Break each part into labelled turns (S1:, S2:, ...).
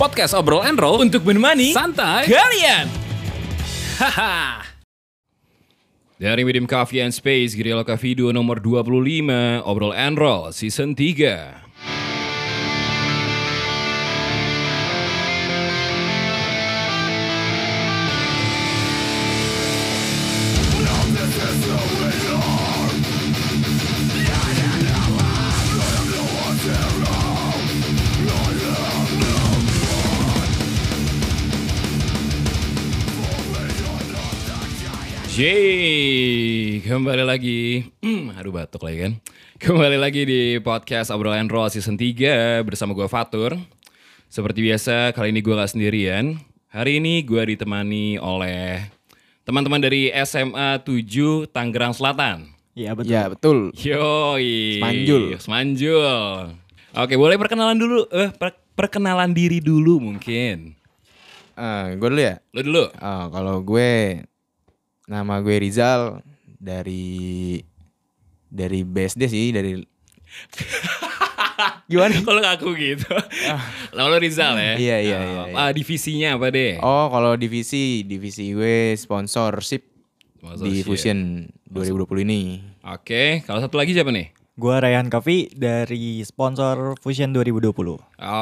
S1: podcast obrol and roll
S2: untuk menemani
S1: santai
S2: kalian.
S1: Haha. Dari Medium Coffee and Space, Geriala Video nomor 25, Obrol and Roll Season 3. Yeay, kembali lagi. Aduh batuk lagi kan. Kembali lagi di podcast Obrolan Roll Season 3 bersama gue Fatur. Seperti biasa, kali ini gue gak sendirian. Hari ini gue ditemani oleh teman-teman dari SMA 7 Tangerang Selatan.
S2: Iya betul.
S3: Ya betul.
S1: Yoi.
S3: Semanjul.
S1: Semanjul. Oke, boleh perkenalan dulu. Eh, per- perkenalan diri dulu mungkin.
S3: Eh, gue dulu ya.
S1: Lo dulu.
S3: Eh, kalau gue nama gue Rizal dari dari BSD sih dari gimana? Ah.
S1: Kalau nggak aku gitu. Lalu Rizal ya.
S3: Iya, iya,
S1: Ah,
S3: iya, iya.
S1: ah, divisinya apa deh?
S3: Oh kalau divisi divisi gue sponsorship
S1: Masa
S3: di
S1: sih ya?
S3: Fusion 2020 ini.
S1: Oke, kalau satu lagi siapa nih?
S2: Gua Rayhan Kavi dari sponsor Fusion 2020.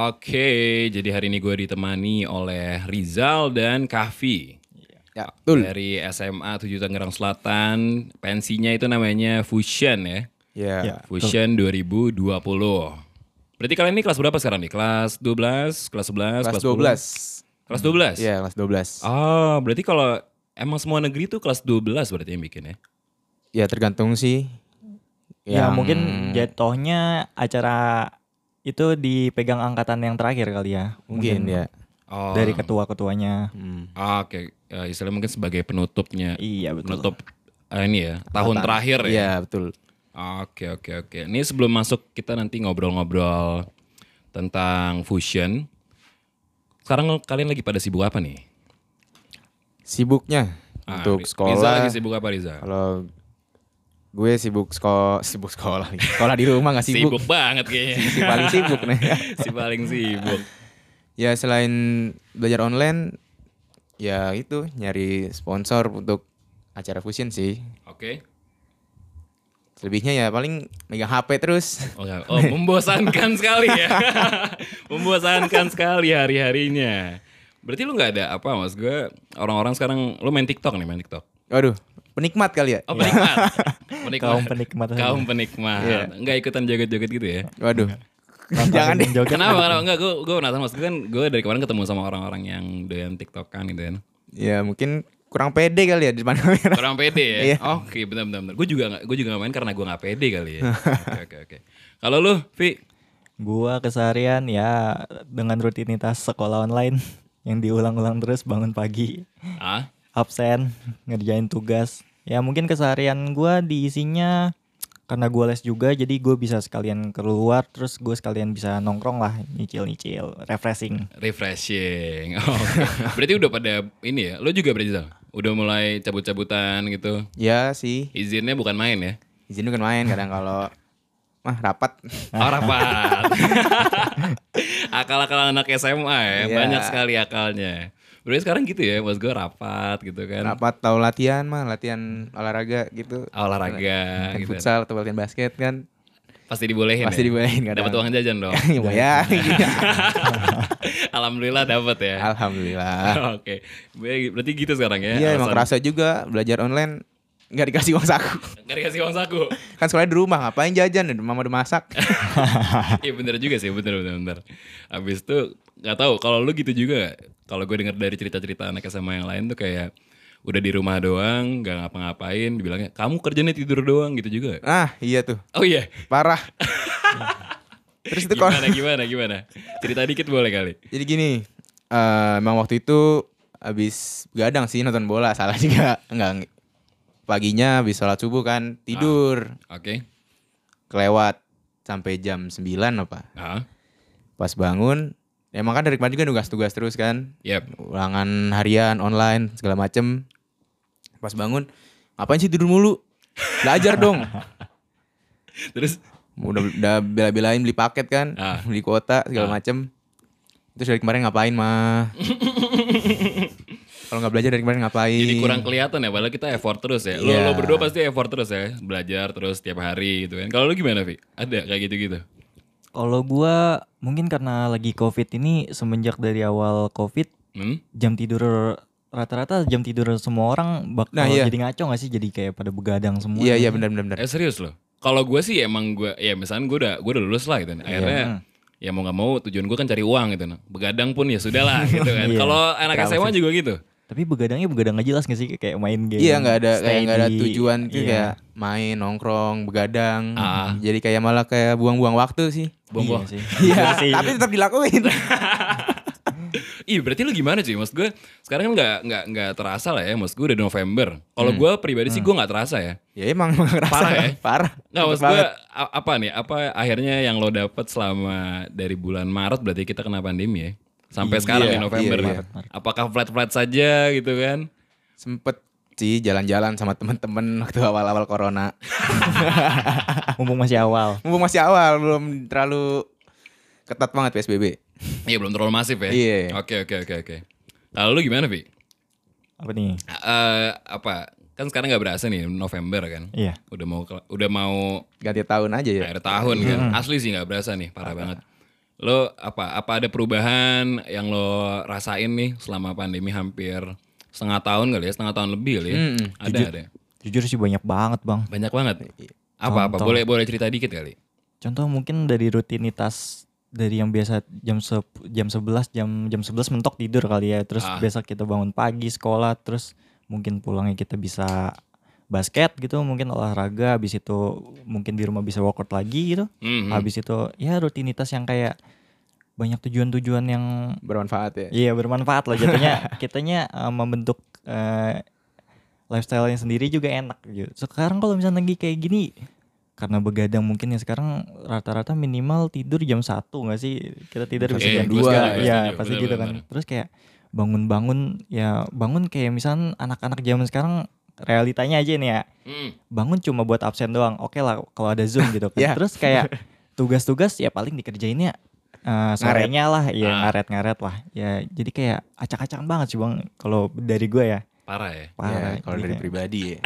S1: Oke, jadi hari ini gue ditemani oleh Rizal dan Kahfi.
S3: Ya betul.
S1: Dari SMA 7 Tangerang Selatan, pensinya itu namanya Fusion ya.
S2: Ya.
S3: Ya.
S1: Fusion 2020. Berarti kalian ini kelas berapa sekarang nih? Kelas 12, kelas 11,
S3: Kelas
S1: 10?
S3: 12.
S1: Kelas 12?
S3: Iya kelas 12.
S1: Oh, berarti kalau emang semua negeri tuh kelas 12 berarti yang bikin ya?
S3: Ya tergantung sih.
S2: Ya
S3: Yang-
S2: mungkin
S3: hmm.
S2: jatuhnya acara itu dipegang angkatan yang terakhir kali ya.
S3: mungkin ya.
S1: Oh,
S2: Dari ketua-ketuanya.
S3: Hmm.
S1: ah, Oke, Eh, istilahnya mungkin sebagai penutupnya.
S2: Iya betul.
S1: Penutup eh, ini ya, tahun terakhir ya?
S3: Iya betul.
S1: Oke oke oke. Ini sebelum masuk kita nanti ngobrol-ngobrol tentang fusion. Sekarang kalian lagi pada sibuk apa nih?
S3: Sibuknya
S1: Ah,
S3: untuk
S1: Ri-
S3: sekolah.
S1: Riza lagi sibuk apa Riza?
S3: Kalau gue sibuk sekolah, sibuk sekolah lagi. Sekolah di rumah gak
S1: Sibuk,
S3: sibuk.
S1: banget kayaknya.
S3: Si paling sibuk nih.
S1: si paling sibuk.
S3: ya selain belajar online, ya itu nyari sponsor untuk acara fusion sih.
S1: Oke.
S3: Selebihnya ya paling megang HP terus.
S1: Oh, enggak. Oh, membosankan sekali ya. membosankan sekali hari-harinya. Berarti lu nggak ada apa Mas? Gue orang-orang sekarang lu main TikTok nih, main TikTok.
S3: Waduh, penikmat kali ya.
S1: Oh, penikmat. penikmat. Iya.
S2: Kaum penikmat.
S1: Kaum penikmat. Nggak ikutan joget-joget gitu ya.
S3: Waduh. Jangan deh.
S2: Joget.
S1: Kenapa? Kenapa? Enggak, gue gue penasaran mas. Gue kan gue dari kemarin ketemu sama orang-orang yang doyan tiktokan gitu kan.
S3: Ya mungkin kurang pede kali ya di depan kamera.
S1: Kurang pede ya.
S3: Iya.
S1: Oke, benar-benar. Gue juga nggak gue juga nggak main karena gue nggak pede kali ya. Oke, oke, oke. Kalau lu, Vi,
S2: Gua keseharian ya dengan rutinitas sekolah online yang diulang-ulang terus bangun pagi,
S1: ah,
S2: absen, ngerjain tugas. Ya mungkin keseharian gua diisinya karena gua les juga jadi gue bisa sekalian keluar terus gue sekalian bisa nongkrong lah nyicil-nyicil refreshing
S1: refreshing. Oh, Berarti udah pada ini ya. Lu juga berarti Zal? udah mulai cabut-cabutan gitu.
S3: Ya sih,
S1: Izinnya bukan main ya.
S3: izin kan main kadang kalau mah rapat.
S1: Oh, rapat. Akal-akal anak SMA ya,
S3: Iya.
S1: banyak sekali akalnya. Berarti sekarang gitu ya, mas gue rapat gitu kan.
S3: Rapat tahu latihan mah, latihan olahraga gitu.
S1: olahraga
S3: Latihan
S1: gitu.
S3: futsal atau latihan basket kan
S1: Pasti dibolehin.
S3: pasti
S1: ya?
S3: dibolehin kadang.
S1: Dapat uang jajan dong. Iya.
S3: Ya, bayangin.
S1: Alhamdulillah dapat ya.
S3: Alhamdulillah.
S1: Oke. Baik, Berarti gitu sekarang ya.
S3: Iya emang
S1: alasan-
S3: kerasa juga belajar online nggak dikasih uang saku.
S1: Nggak dikasih uang saku.
S3: Kan sekolah di rumah ngapain jajan? ya? Mama udah masak.
S1: Iya bener juga sih, bener bener bener. Abis itu nggak tahu kalau lu gitu juga. nggak? Kalau gue denger dari cerita-cerita anak SMA yang lain tuh kayak udah di rumah doang, nggak ngapa-ngapain, dibilangnya kamu kerjanya tidur doang gitu juga.
S3: Ah iya tuh
S1: Oh iya.
S3: parah. Terus itu kalau
S1: Gimana gimana gimana. Cerita dikit boleh kali.
S3: jadi gini, eh, emang waktu itu habis gadang sih nonton bola salah juga nggak paginya habis sholat subuh kan
S1: Ah.
S3: tidur
S1: Oke.
S3: kelewat sampai jam 9 apa
S1: Ah.
S3: pas bangun emang kan dari kemarin juga tugas-tugas terus kan
S1: Yep.
S3: ulangan harian online segala macem pas bangun ngapain sih tidur mulu belajar dong
S1: Terus
S3: udah udah bela-belain beli paket kan
S1: Ah.
S3: beli kuota segala macem Terus dari kemarin ngapain mah? Kalau nggak belajar dari kemarin ngapain?
S1: Jadi kurang kelihatan ya, padahal kita effort terus ya. Lo,
S3: Iya.
S1: lo berdua pasti effort terus ya, belajar terus tiap hari gitu kan. Kalau lo gimana Vi? Ada kayak gitu-gitu?
S2: Kalau gua mungkin karena lagi covid ini semenjak dari awal covid
S1: Hmm?
S2: jam tidur rata-rata jam tidur semua orang bakal
S3: Nah, iya.
S2: jadi ngaco gak sih jadi kayak pada begadang semua. gitu.
S3: Iya iya benar benar benar.
S1: Eh serius lo? Kalau gue sih emang gue, ya misalnya gue udah, gue udah lulus lah gitu
S3: Iya.
S1: kan. Akhirnya ya mau gak mau tujuan gue kan cari uang gitu. Nah. Begadang pun ya sudah lah gitu kan.
S2: Iya.
S1: Kalau anak
S2: Kenapa
S1: SMA
S2: sih?
S1: juga gitu.
S2: Tapi begadangnya begadang gak jelas gak sih kayak main game.
S3: Iya nggak ada kayak
S2: stay
S3: nggak ada
S2: di-
S3: tujuan tuh
S2: iya.
S3: kayak main nongkrong begadang.
S1: Ah.
S3: Jadi kayak malah kayak buang-buang waktu sih.
S1: Buang-buang.
S2: Iya sih.
S3: Iya,
S2: sih.
S3: tapi tetap dilakuin.
S1: Iya berarti lu gimana sih? Maksud gue sekarang kan nggak nggak nggak terasa lah ya. Maksud gue udah November. Kalau
S3: Hmm.
S1: gue pribadi sih gue nggak terasa ya.
S3: ya emang emang ngerasa
S1: Parah ya?
S3: parah.
S1: Nggak maksud gue
S3: Banget.
S1: a- apa nih? Apa akhirnya yang lo dapet selama dari bulan Maret berarti kita kena pandemi ya? Sampai sekarang
S3: Iya,
S1: nih November
S3: iya,
S1: nih. Apakah flat-flat saja gitu kan?
S3: sempet sih jalan-jalan sama temen-temen waktu awal-awal corona.
S2: Mumpung masih awal.
S3: Mumpung masih awal belum terlalu ketat banget PSBB.
S1: Iya belum terlalu masif ya.
S3: Iya.
S1: Oke oke oke oke. Lalu lu gimana Vi?
S2: Apa nih?
S1: Eh, apa? Kan sekarang nggak berasa nih November kan?
S2: Iya.
S1: Udah mau ke- udah mau
S3: Ganti tahun aja ya.
S1: akhir tahun kan. Asli sih nggak berasa nih, parah banget. Lo apa apa ada perubahan yang lo rasain nih selama pandemi hampir setengah tahun kali ya, setengah tahun lebih kali ya?
S3: Mm-mm.
S1: Ada ada.
S2: Jujur sih banyak banget bang.
S1: Banyak banget. Apa apa
S2: Contoh.
S1: boleh boleh cerita dikit kali.
S2: Contoh mungkin dari rutinitas dari yang biasa jam sep- jam 11 jam jam 11 mentok tidur kali ya. Terus
S1: Ah.
S2: besok kita bangun pagi sekolah terus mungkin pulangnya kita bisa basket gitu, mungkin olahraga habis itu mungkin di rumah bisa workout lagi gitu.
S1: Mhm.
S2: Habis itu ya rutinitas yang kayak banyak tujuan-tujuan yang
S3: Bermanfaat ya.
S2: iya bermanfaat loh jatuhnya kitanya eh, membentuk eh, lifestyle-nya sendiri juga enak gitu. Sekarang kalau misalnya lagi kayak gini karena begadang mungkin ya sekarang rata-rata minimal tidur jam satu nggak sih kita tidur
S3: Pasti
S2: bisa
S3: jam
S2: jam
S3: dua,
S2: dua
S3: pasti
S2: ya
S1: jam-
S2: pasti
S1: benar,
S2: gitu
S1: benar,
S2: kan terus kayak bangun-bangun ya bangun kayak misalnya anak-anak zaman sekarang realitanya aja nih ya
S1: Mm.
S2: bangun cuma buat absen doang. Oke lah kalau ada Zoom gitu kan.
S3: Ya.
S2: Terus kayak tugas-tugas ya paling dikerjainnya eh, sorenya lah, ya
S1: Ah.
S2: ngaret-ngaret lah. Ya jadi kayak acak-acakan banget sih Bang kalau dari gue ya.
S1: Parah ya.
S3: Ya,
S2: Parah.
S3: kalau
S2: Jadi
S3: dari
S2: kayak,
S3: pribadi ya.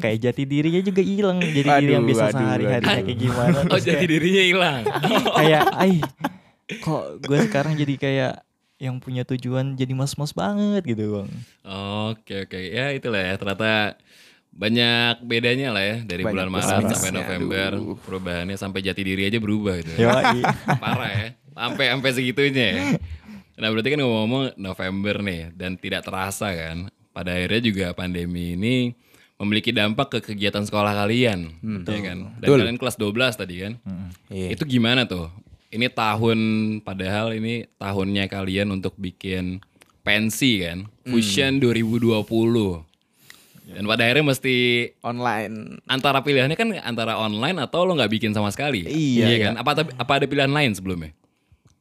S2: kayak jati dirinya juga hilang. Jadi diri yang
S3: Aduh,
S2: biasa
S3: aduh,
S2: sehari-harinya
S3: aduh.
S2: kayak gimana.
S1: Oh
S2: Terus
S1: jadi
S2: kayak,
S1: dirinya hilang.
S2: kayak ai kok gue sekarang jadi kayak yang punya tujuan jadi mas-mas banget gitu Bang.
S1: Oke oke ya itulah ya ternyata banyak bedanya lah ya dari
S3: Banyak
S1: bulan
S3: plus
S1: Maret
S2: minusnya,
S1: sampai November
S3: aduh. Iya.
S1: perubahannya sampai jati diri aja berubah gitu. ya.
S2: Yoi.
S1: Parah ya sampai sampai segitunya ya. Nah berarti kan ngomong-ngomong November nih ya, dan tidak terasa kan pada akhirnya juga pandemi ini memiliki dampak ke kegiatan sekolah kalian, ya kan? Dan
S3: Hmm. Betul.
S1: kalian kelas 12 tadi kan?
S3: Iya.
S1: Itu gimana tuh? Ini tahun padahal ini tahunnya kalian untuk bikin pensi kan,
S3: Hmm.
S1: Fusion 2020. Dan pada akhirnya mesti
S3: Online.
S1: antara pilihannya kan antara online atau lo nggak bikin sama sekali.
S3: Iya,
S1: kan? Apa apa ada pilihan lain sebelumnya?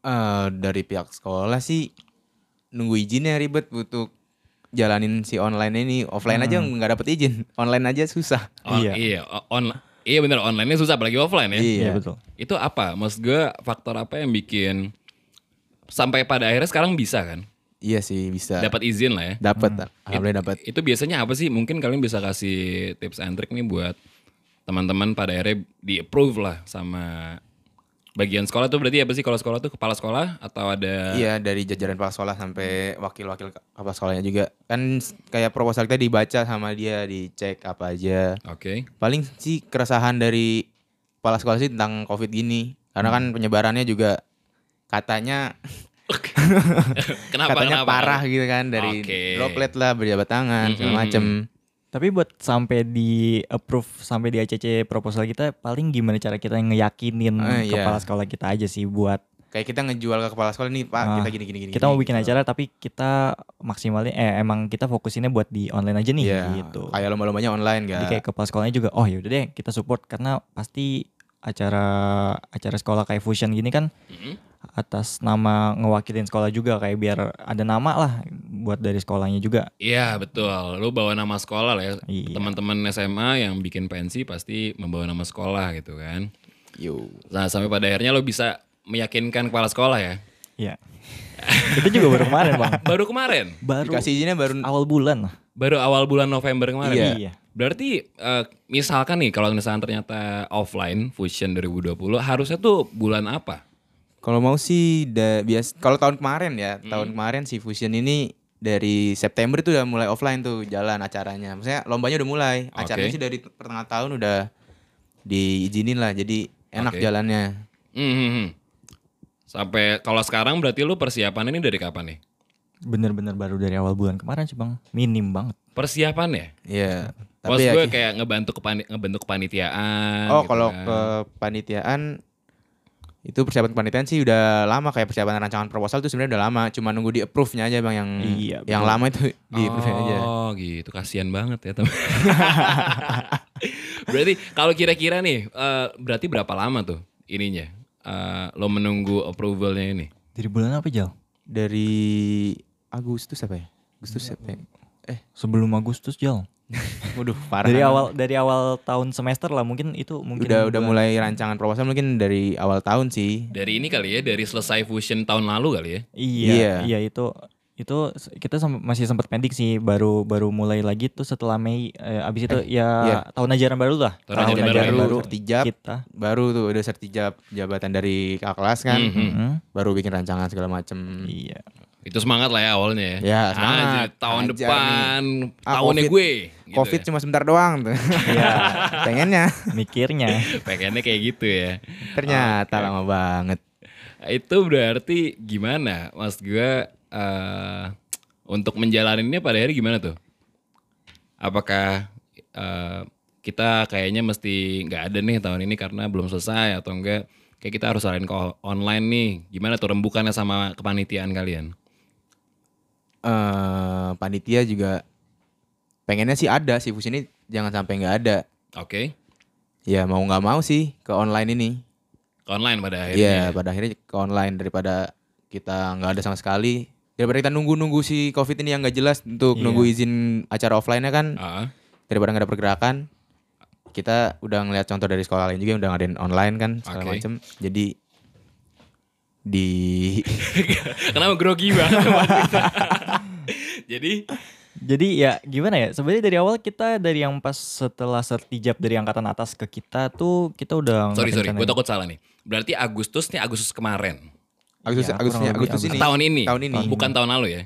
S3: Eh, dari pihak sekolah sih nunggu izinnya ribet untuk jalanin si online ini offline aja
S1: Hmm.
S3: nggak dapet izin online aja susah
S1: Oh,
S2: Iya.
S1: Iya, o- on- iya bener online-nya susah apalagi offline ya.
S2: Iya betul.
S1: Itu apa? Maksud gue faktor apa yang bikin sampai pada akhirnya sekarang bisa kan?
S3: iya sih bisa
S1: Dapat izin lah ya.
S3: dapat alhamdulillah dapat
S1: Itu biasanya apa sih? Mungkin kalian bisa kasih tips and trick nih buat teman-teman pada akhirnya di approve lah sama bagian sekolah tuh berarti apa sih kalau sekolah tuh kepala sekolah atau ada
S2: Eh.
S3: Iya dari jajaran kepala sekolah sampai wakil-wakil ke- kepala sekolahnya juga kan s- kayak proposal kita dibaca sama dia dicek apa aja
S1: Oke.
S3: paling sih keresahan dari kepala sekolah sih tentang covid gini karena
S2: Hmm.
S3: kan penyebarannya juga katanya
S1: kenapa
S3: katanya
S1: kenapa?
S3: parah gitu kan dari
S1: Oke.
S3: droplet lah berjabat tangan
S2: Hmm,
S3: segala macem
S2: Tapi buat sampai di approve sampai di ACC proposal kita paling gimana cara kita ngeyakinin
S3: Ah, iya.
S2: kepala sekolah kita aja sih buat
S3: kayak kita ngejual ke kepala sekolah nih pak
S2: Ah,
S3: kita gini gini gini
S2: kita mau bikin
S3: gitu.
S2: acara tapi kita maksimalnya eh emang kita fokusinnya buat di online aja nih
S3: Iya,
S2: gitu.
S3: kayak lomba-lombanya online gak
S2: Jadi kayak kepala sekolahnya juga oh yaudah deh kita support karena pasti acara acara sekolah kayak fusion gini kan
S3: Mm-hmm.
S1: Mm-mm.
S2: atas nama ngewakilin sekolah juga kayak biar ada nama lah buat dari sekolahnya juga.
S1: Iya betul. Lu bawa nama sekolah lah ya.
S2: Iya.
S1: Teman-teman SMA yang bikin pensi pasti membawa nama sekolah gitu kan.
S3: Yo.
S1: Nah sampai pada akhirnya lo bisa meyakinkan kepala sekolah ya.
S2: Iya. Itu juga baru kemarin bang.
S1: Baru kemarin,
S2: Baru
S3: Dikasih izinnya baru
S2: awal bulan. lah.
S1: baru awal bulan November kemarin.
S3: Iya.
S2: Iya.
S1: Berarti eh, misalkan nih kalau misalkan ternyata offline Fusion 2020 harusnya tuh bulan apa?
S3: Kalau mau sih da, bias kalau tahun kemarin ya,
S1: Hmm.
S3: tahun kemarin si Fusion ini dari September itu udah mulai offline tuh jalan acaranya. Maksudnya lombanya udah mulai.
S1: Oke.
S3: Acaranya sih dari pertengahan tahun udah diizinin lah. Jadi enak
S1: Oke.
S3: jalannya.
S1: Mhm. Sampai kalau sekarang berarti lu persiapan ini dari kapan nih?
S2: Bener-bener baru dari awal bulan kemarin sih bang. Minim banget.
S1: Persiapan ya?
S3: Iya.
S1: Maksud
S3: Tapi ya,
S1: gue kayak ngebantu kepani- ngebentuk kepanitiaan.
S3: oh
S1: gitu
S3: kalau
S1: kan.
S3: kepanitiaan itu persiapan kepanitiaan sih udah lama kayak persiapan rancangan proposal itu sebenarnya udah lama, cuma nunggu di approve-nya aja Bang yang
S2: Iya,
S3: yang
S2: betul.
S3: lama itu di approve aja.
S1: Oh gitu, kasihan banget ya teman. berarti kalau kira-kira nih, eh, berarti berapa lama tuh ininya? Eh, lo menunggu approvalnya ini?
S2: Dari bulan apa Jal?
S3: Dari Agustus apa ya? Agustus September. Eh,
S2: Sebelum Agustus Jal.
S3: waduh parah.
S2: Dari awal dari awal tahun semester lah mungkin itu mungkin.
S3: udah udah
S2: bulan-
S3: mulai rancangan proposal mungkin dari awal tahun sih.
S1: Dari ini kali ya, dari selesai fusion tahun lalu kali ya?
S2: Iya, iya itu itu s- kita sem- masih sempat pending sih baru baru mulai lagi tuh setelah Mei eh, abis itu ya
S3: iya.
S2: tahun ajaran baru lah.
S1: Tahun ajaran baru.
S3: Sertijab.
S2: kita.
S3: Baru tuh udah sertijab jabatan dari kakak kelas kan.
S1: Mhm.
S2: Hmm,
S3: Baru bikin rancangan segala macem.
S2: Iya.
S1: Itu semangat lah ya awalnya ya.
S3: Ya, semangat.
S1: Anjir, tahun
S3: Ajar
S1: depan,
S3: Ah,
S1: tahunnya
S3: Covid.
S1: gue. gitu
S3: Covid cuma sebentar doang tuh. Iya, pengennya.
S2: Mikirnya
S1: ya. Pengennya kayak gitu ya.
S3: Ternyata lama banget.
S1: Itu berarti gimana mas gue eh, untuk menjalaninya pada hari gimana tuh? Apakah eh, kita kayaknya mesti nggak ada nih tahun ini karena belum selesai atau enggak? Kayak kita harus arahin ke online nih. Gimana tuh rembukannya sama kepanitiaan kalian?
S3: Eh, panitia juga pengennya sih ada sih fusi ini jangan sampai nggak ada.
S1: Oke,
S3: Ya mau nggak mau sih ke online ini.
S1: ke online pada
S2: ya.
S3: Iya,
S1: akhirnya.
S3: pada akhirnya ke online daripada kita nggak ada sama sekali. Daripada kita nunggu-nunggu si COVID ini yang nggak jelas untuk
S2: Iya.
S3: nunggu izin acara offline-nya kan
S1: Ah,
S3: daripada nggak ada pergerakan. Kita udah ngeliat contoh dari sekolah lain juga yang udah ngadain online kan segala
S1: Oke.
S3: macem. Jadi di
S2: Iya,
S1: Kenapa grogi banget? Jadi,
S2: Jadi ya gimana ya? Sebenarnya dari awal kita dari yang pas setelah sertijab dari angkatan atas ke kita tuh kita udah
S1: sorry sorry,
S2: ngerencanain.
S1: gue takut salah nih. Berarti Agustus nih Agustus kemarin,
S3: Agustus
S2: Iya,
S3: Agustus,
S2: kurang lebih
S3: Agustus ini.
S1: tahun ini,
S3: Tahun ini.
S1: bukan tahun lalu ya?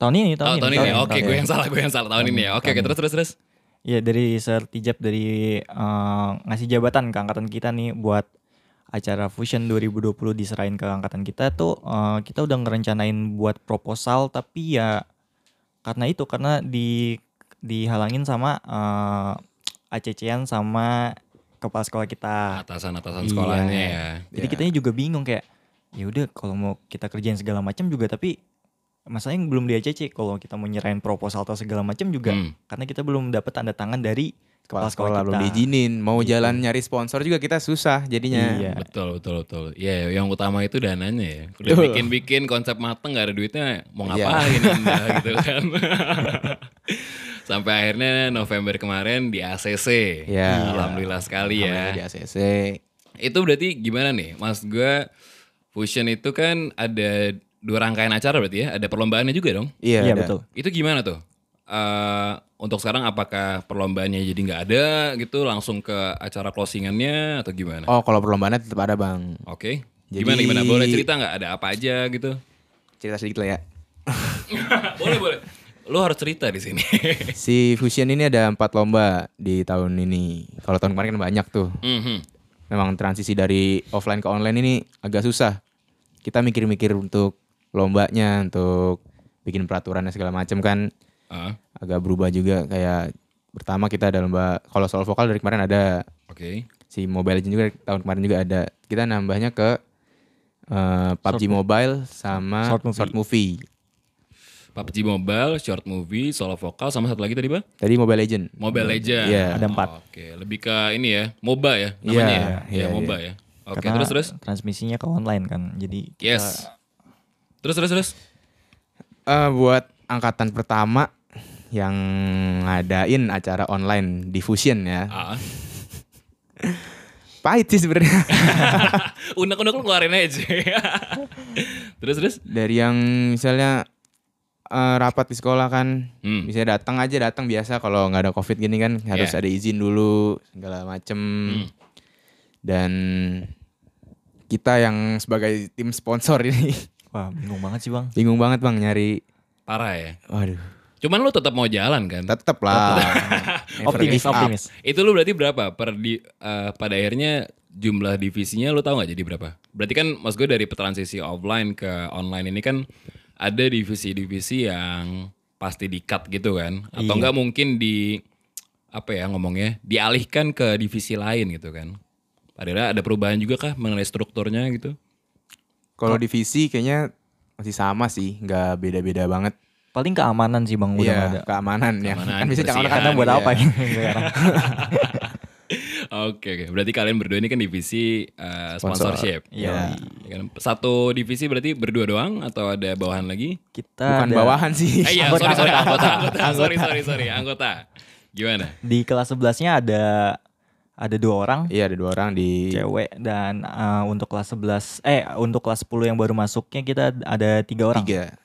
S2: tahun ini tahun,
S1: Oh, Tahun, tahun
S2: ini.
S1: ini,
S3: tahun ini,
S1: oke,
S3: tahun
S1: gue
S3: ini.
S1: yang salah, gue yang salah tahun ini ya. Oke, oke, terus terus terus.
S2: Iya dari sertijab dari eh, ngasih jabatan ke angkatan kita nih buat acara Fusion 2020 diserahin ke angkatan kita tuh eh, kita udah ngerencanain buat proposal tapi ya karena itu karena di dihalangin sama eh, ACC-an sama kepala sekolah kita.
S1: Atasan atasan
S2: Iya.
S1: sekolahnya ya.
S2: Jadi
S3: Ya.
S2: kitanya juga bingung kayak ya udah kalau mau kita kerjain segala macam juga tapi masalahnya belum di ACC kalau kita mau nyerahin proposal atau segala macam juga
S1: Hmm.
S2: karena kita belum dapat tanda tangan dari
S3: Kepala
S2: kepala sekolah,
S3: sekolah
S2: kita. Gitu.
S3: belum diizinin, mau jalan nyari sponsor juga kita susah jadinya.
S2: Iya.
S1: Betul betul betul. Iya, yang utama itu dananya ya. Udah
S3: Betul.
S1: bikin bikin konsep mateng gak ada duitnya, mau
S3: Iya.
S1: ngapain Anda gitu kan? Sampai akhirnya November kemarin di ACC.
S3: Iya.
S1: Alhamdulillah sekali
S2: Iya.
S1: ya.
S3: Namanya Di ACC.
S1: Itu berarti gimana nih? Mas gue Fusion itu kan ada dua rangkaian acara berarti ya? Ada perlombaannya juga dong?
S3: Iya,
S2: Iya
S3: ada.
S2: betul.
S1: Itu gimana tuh? Eh, untuk sekarang apakah perlombaannya jadi nggak ada gitu langsung ke acara closingannya atau gimana?
S3: Oh, kalau perlombaannya tetap ada, Bang.
S1: Oke.
S3: Jadi-
S1: Gimana gimana? Boleh cerita nggak ada apa aja gitu?
S3: Cerita sedikit lah ya.
S1: boleh boleh. Lu harus cerita di sini.
S3: Si Fusion ini ada empat lomba di tahun ini. Kalau tahun kemarin kan banyak tuh.
S1: Mhm.
S3: Memang transisi dari offline ke online ini agak susah. Kita mikir-mikir untuk lombanya, untuk bikin peraturannya segala macam kan
S1: Ah,
S3: agak berubah juga. Kayak pertama kita ada lomba kalau soal vokal dari kemarin ada
S1: Oke.
S3: si Mobile Legends juga dari tahun kemarin juga ada. Kita nambahnya ke eh, PUBG Mobile sama
S2: Short
S3: short
S2: movie.
S3: movie.
S1: PUBG Mobile, short movie, solo vokal sama satu lagi tadi, Bang?
S3: Tadi Mobile Legend.
S1: Mobile Legend.
S3: Iya.
S2: Ada empat.
S1: Oke, lebih ke ini ya, MOBA ya namanya
S3: Iya,
S1: ya. Iya,
S3: iya,
S1: MOBA ya. Oke,
S2: Karena
S1: terus terus.
S2: transmisinya ke online kan. Jadi
S1: Yes. Terus terus terus.
S3: Eh, buat angkatan pertama yang ngadain acara online di Fusion ya.
S1: Ah,
S3: pahit sih sebenarnya.
S1: Unek-unek lu keluarin aja. terus terus.
S3: Dari yang misalnya eh, rapat di sekolah kan,
S1: Hmm.
S3: misalnya datang aja datang biasa kalau nggak ada covid gini kan harus
S1: Yeah.
S3: ada izin dulu segala macem. Dan kita yang sebagai tim sponsor ini
S2: Wah bingung banget sih bang.
S3: bingung banget bang nyari.
S1: Parah ya.
S3: Waduh,
S1: Cuman lu tetap mau jalan kan?
S3: tetep lah. Never
S2: Optimis,
S3: give up.
S2: optimis.
S1: Itu lu berarti berapa per di, eh, pada akhirnya jumlah divisinya lu tahu nggak jadi berapa? Berarti kan mas gue dari transisi offline ke online ini kan ada divisi-divisi yang pasti di cut gitu kan? Atau
S2: Iya.
S1: enggak mungkin di apa ya ngomongnya dialihkan ke divisi lain gitu kan? Padahal ada perubahan juga kah mengenai strukturnya gitu?
S3: Kalau divisi kayaknya masih sama sih, nggak beda-beda banget.
S2: Paling keamanan sih bang udah nggak ada.
S3: Iya, keamanan ya.
S1: Keamanan, Iya,
S3: Kan bisa jangan
S1: kebersihan,
S3: karena
S2: Karena buat apa ya?
S1: Oke, oke. berarti kalian berdua ini kan divisi eh,
S3: Sponsor.
S1: sponsorship.
S3: Iya.
S1: Ya kan? Satu divisi berarti berdua doang atau ada bawahan lagi?
S2: Kita ada-
S3: Bukan bawahan sih.
S1: Eh, iya, sorry, sorry, anggota, anggota, sorry, sorry, sorry, anggota. Gimana?
S2: di kelas 11-nya ada ada dua orang
S3: Iya ada dua orang di
S2: cewek dan eh, untuk kelas 11 eh untuk kelas 10 yang baru masuknya kita ada tiga orang.
S3: tiga. Nah,